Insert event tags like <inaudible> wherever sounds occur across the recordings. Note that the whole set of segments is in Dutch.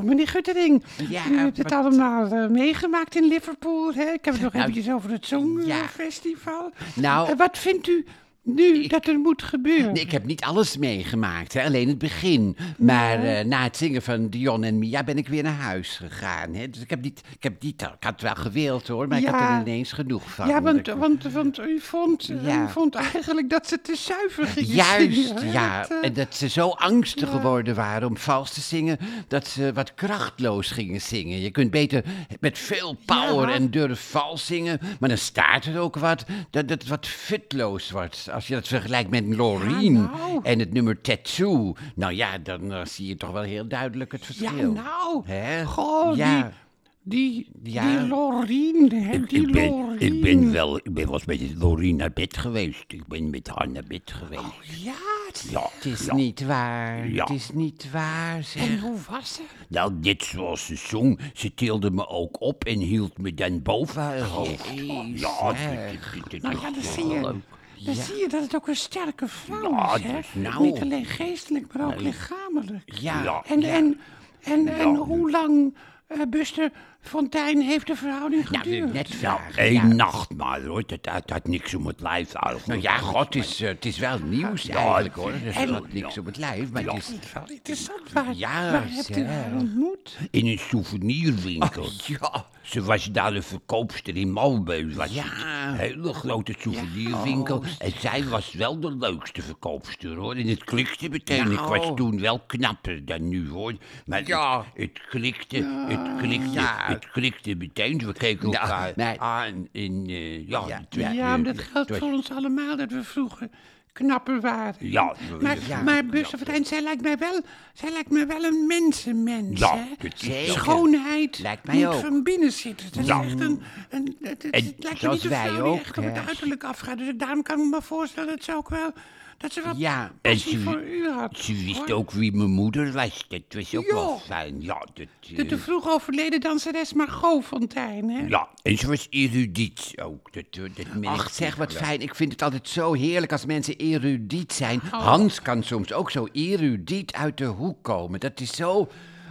stuitering. Ja, U hebt het maar- allemaal eh, meegemaakt in Liverpool. Hè? Ik heb het nog Nou, eventjes over het ja. Songfestival. Nou- Eh, wat vindt u nu dat er moet gebeuren? Nee, ik heb niet alles meegemaakt, hè? alleen het begin. Maar eh, na het zingen van Dion en Mia ben ik weer naar huis gegaan. Hè? Dus ik heb niet, ik heb niet, ik had wel gewild hoor, maar ik had Ja. er ineens genoeg van. ja, want, Ik- want, want u, vond, Ja. u vond eigenlijk dat ze te zuiver <laughs> gingen Juist, zingen, hè? ja. Dat, eh, En dat ze zo angstig ja. geworden waren om vals te zingen, dat ze wat krachtloos gingen zingen. Je kunt beter met veel power Ja. en durf vals zingen, maar dan staat er ook wat dat het wat fitloos wordt. Als je dat vergelijkt met Loreen nou. en het nummer Tattoo, nou ja, dan eh, zie je toch wel heel duidelijk het Ja, verschil. nou. Hè? Goh, Ja. die, die, Ja. die Lorien, hè, die ik, ben, Lorien. ik ben wel, ik ben wel eens met Loreen naar bed geweest. Ik ben met haar naar bed geweest. Ja, het- ja, Oh, het is niet waar. Ja. Het is niet waar, en zeg. hoe was ze? Nou, dit zoals ze zong, ze tilde me ook op en hield me dan boven haar hoofd. Jezus. Ja, dit- dit- dit- Nou ja, dan zie je, dan zie je dat het ook een sterke vrouw Ja, is, hè? dus nou. Niet alleen geestelijk, maar ook lichamelijk. Ja, Ja. En, en, en, en hoe lang, eh Buster Fontijn, heeft de verhouding geduurd? net Nou, vragen. één ja. nacht maar hoor, dat had, had niks om het lijf eigenlijk. Nou ja, god, het is, eh, het is wel nieuws eigenlijk hoor. Er en- staat niks op het lijf, maar het is... Wel interessant, waar, Ja, waar hebt u zeg. haar ontmoet? In een souvenirwinkel. Ja, Ze was daar de verkoopster in Malmö. Was Ja. oh. het. hele grote souvenirwinkel. En zij was wel de leukste verkoopster hoor. En het klikte meteen. Ik was Nou. toen wel knapper dan nu hoor. Maar Ja. het, het klikte, het klikte, Ja. het klikte meteen. We keken Ja, elkaar nee. aan en eh, ja, Ja, het werd, Ja, maar eh, dat geldt het voor was- ons allemaal, dat we vroeger knapper waren. Ja, Maar, ja. maar Buster Fontijn, zij lijkt mij wel, zij lijkt mij wel een mensenmens, Ja, hè? dat is Zeker. Schoonheid Lijkt mij moet ook. van binnen zitten. Dat Ja. is echt een... een het, het- En het lijkt me zoals niet een wij vrouw die ook, echt op het hè. uiterlijk afgaat. Dus daarom kan ik me maar voorstellen dat ze ook wel... Dat ze wat Ja. passie En ze- voor u had. Ze wist hoor. ook wie mijn moeder was. Dat was ook wel Joh. fijn. Ja, dat, De te eh, vroeg overleden danseres Margot Fontijn, hè? ja, en ze was erudiet ook. Dat, eh, dat merkte Ach, zeg ik wat wel. fijn. Ik vind het altijd zo heerlijk als mensen erudiet zijn. Oh. Hans kan soms ook zo erudiet uit de hoek komen. Dat is zo...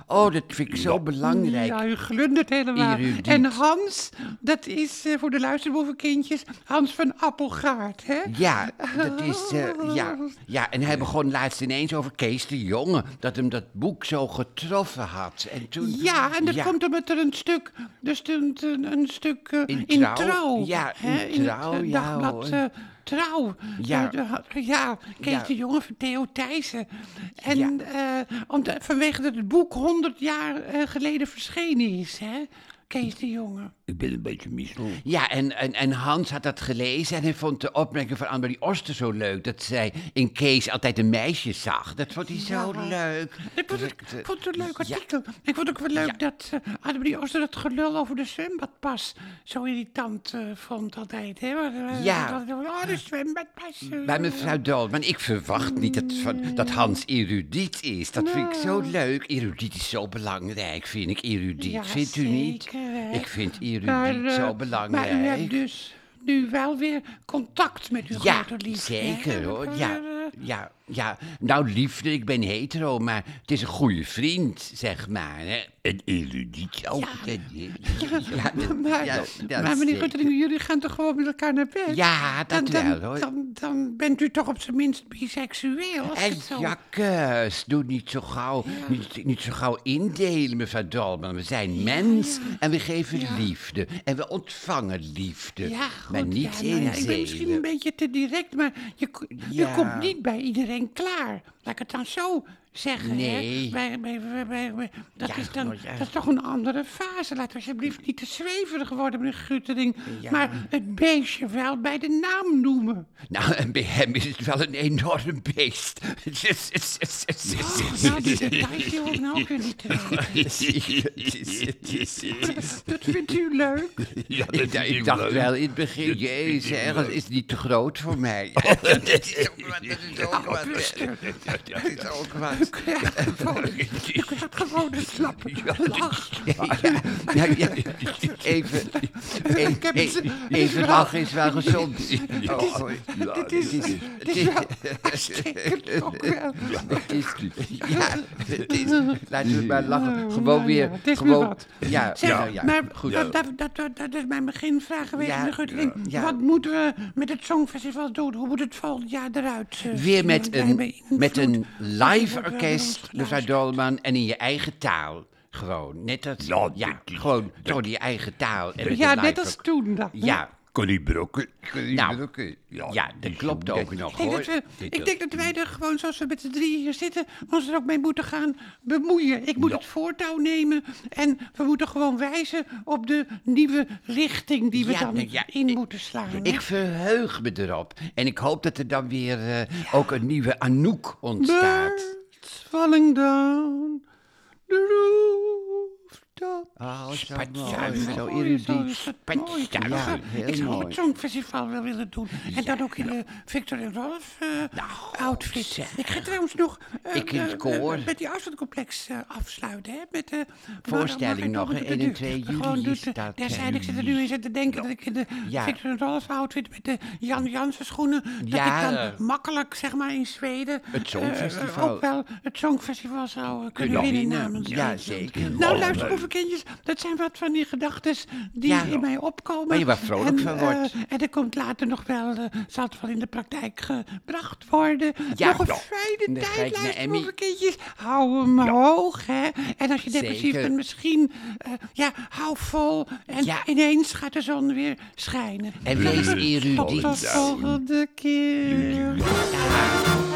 Oh, dat vind ik zo belangrijk. Ja, u glundert helemaal. Erudiet. En Hans, dat is eh, voor de luisterboevenkindjes Hans van Appelgaard, hè? Ja, dat is. eh, ja. ja, en hij begon laatst ineens over Kees de Jonge. Dat hem dat boek zo getroffen had. En toen, Ja, en dat Ja. komt omdat er een stuk, dus een, een, een stuk eh, In in, Trouw? trouw, Ja, hè, in het, Trouw, eh, ja, dagblad hoor. eh, Trouw. Ja. Ja, ja Kees Ja. de Jonge van Theo Thijssen. En eh, omdat, vanwege dat het boek 100 jaar eh, geleden verschenen is, hè? Kees de Jonge. Ik ben een beetje misselijk. Ja, en, en, en Hans had dat gelezen en hij vond de opmerking van Annemarie Oster zo leuk. Dat zij in Kees altijd een meisje zag. Dat vond hij zo leuk. Ik vond het, eh, ik vond het een leuk ja. artikel. Ik vond ook wel leuk dat eh Annemarie Ooster dat gelul over de zwembadpas zo irritant eh, vond altijd. Hè? Maar, eh, Ja. dat- oh, de zwembadpas. eh. Bij mevrouw Doolman, ik verwacht niet dat, van, dat Hans erudiet is. Dat vind ik zo leuk. Erudiet is zo belangrijk, vind ik. Erudiet, Nou. Ja, vindt u niet? zeker, hè. Ik vind erudiet Maar, eh, zo belangrijk. Maar u hebt dus nu wel weer contact met uw Ja, grote liefde. hè? zeker hoor. Eh, Ja, eh, <laughs> ja, ja. Nou, liefde, ik ben hetero, maar het is een goede vriend, zeg maar. Hè. En erudiet ook. Dat, <laughs> eh, Ja, dat- Maar, eh, ja, dat maar meneer zeker. Guttering, jullie gaan toch gewoon met elkaar naar bed? Ja, dat dan, wel dan, hoor. Dan, dan bent u toch op zijn minst biseksueel. Als ik En het zo jakkes, doe niet zo gauw, niet, niet zo gauw indelen, mevrouw Dolman. We zijn mens en we geven liefde. En we ontvangen liefde. Ja, goed, maar niet ja, nou ja, Ik ben misschien een inzelen. beetje te direct, maar je, ko- Ja. je komt niet bij iedereen klaar. Laat ik het dan zo zeggen. Nee. Hè? Bij, bij, bij, bij- bij- dat, Ja, is dan, maar ja. dat is toch een andere fase. Laten we alsjeblieft niet te zweverig worden, meneer Guttering. Maar het beestje wel bij de naam noemen. Nou, en bij hem is het wel een enorm beest. Het is- het is- het is- het <laughs> is- Nou, die details die hoor ik nou ook weer niet te <laughs> weten. het is- het is- het is- Dat vindt u leuk? <laughs> ja, dat Ik, ik is heel dacht leuk. <laughs> wel in het begin, jezus, hè, dat is Oh, niet te groot voor mij. dat is ook wat, dat is ook wat, hè. Ja, ja, Dat is ook wat. Ik had gewoon- ik had <laughs> gewoon een slappe lach. Ja, ja, even, Ik heb het- even, het is even wel- lachen is wel gezond. Oh. Het is, het is, het is wel <laughs> uitstekend ook wel. <laughs> Het is, ja, het is, laten we maar lachen. Gewoon ja, weer, het is gewoon, weer wat. Ja, Zeg, ja, ja, maar goed. Dat, dat, dat, dat- dat is mijn beginvraag geweest. Ja, meneer Gutteling. ja. Wat moeten we met het Songfestival doen? Hoe moet het volgend jaar eruit? eh, Weer met wij een, beïnvloed? met een live wordt wel orkest, geluisterd. mevrouw Dolman, en in je eigen taal. Gewoon, net als, Ja, ja, dat is- gewoon door je eigen taal. En met Ja, een live net als ork- toen dan. Ja, Connie Brokken. Connie Nou, Brokken. ja, dat die klopt zo- ook nog, Ik denk, hoor. dat we, ik denk dat wij er gewoon, zoals we met de drie hier zitten, ons er ook mee moeten gaan bemoeien. Ik moet Ja. het voortouw nemen en we moeten gewoon wijzen op de nieuwe richting die we Ja, dan nou ja, in ik- moeten slaan. hè? Ik verheug me erop. En ik hoop dat er dan weer eh, ook een nieuwe Anouk ontstaat. Birds falling down the rooftop. Oh, zo Mooi, mooi. Zo mooi, erudiet. is dat mooi. Spatstuif. Ik zou- heel Ik zou mooi. het Songfestival wel willen doen. En dan ook in de Victor en Rolf eh, outfit. Ik ga trouwens nog eh, Nou, Ik in het eh, koor. eh, met die afstandcomplex eh, afsluiten. Hè? Met, eh, de Voorstelling nog, hè? 1 en 2 juli Gewoon, is dat, daar hè? zijn, ik zit er nu eens aan te denken dat ik in de Ja. Victor en Rolf outfit met de Jan Jansen schoenen, Ja, dat ik eh, dan makkelijk zeg maar in Zweden Het eh, Songfestival. ook wel het Songfestival zou eh, kunnen winnen winnen. namens Ja, Nederland. zeker. Nou, Oh, luister, leuk. boevenkindjes, dat zijn wat van die gedachten die Ja. in mij opkomen. Waar je wat vrolijk En, van eh, wordt. en er komt later nog wel, eh, zal het wel in de praktijk gebracht worden. Ja, nog een ja. fijne Dan ga tijd, ik naar luister, Emmy. boevenkindjes. Hou hem hoog, hè. En als je depressief Zeker. bent, misschien, eh, ja, hou vol. En Ja. ineens gaat de zon weer schijnen. En wees Tot de erudiet. volgende keer. Ja.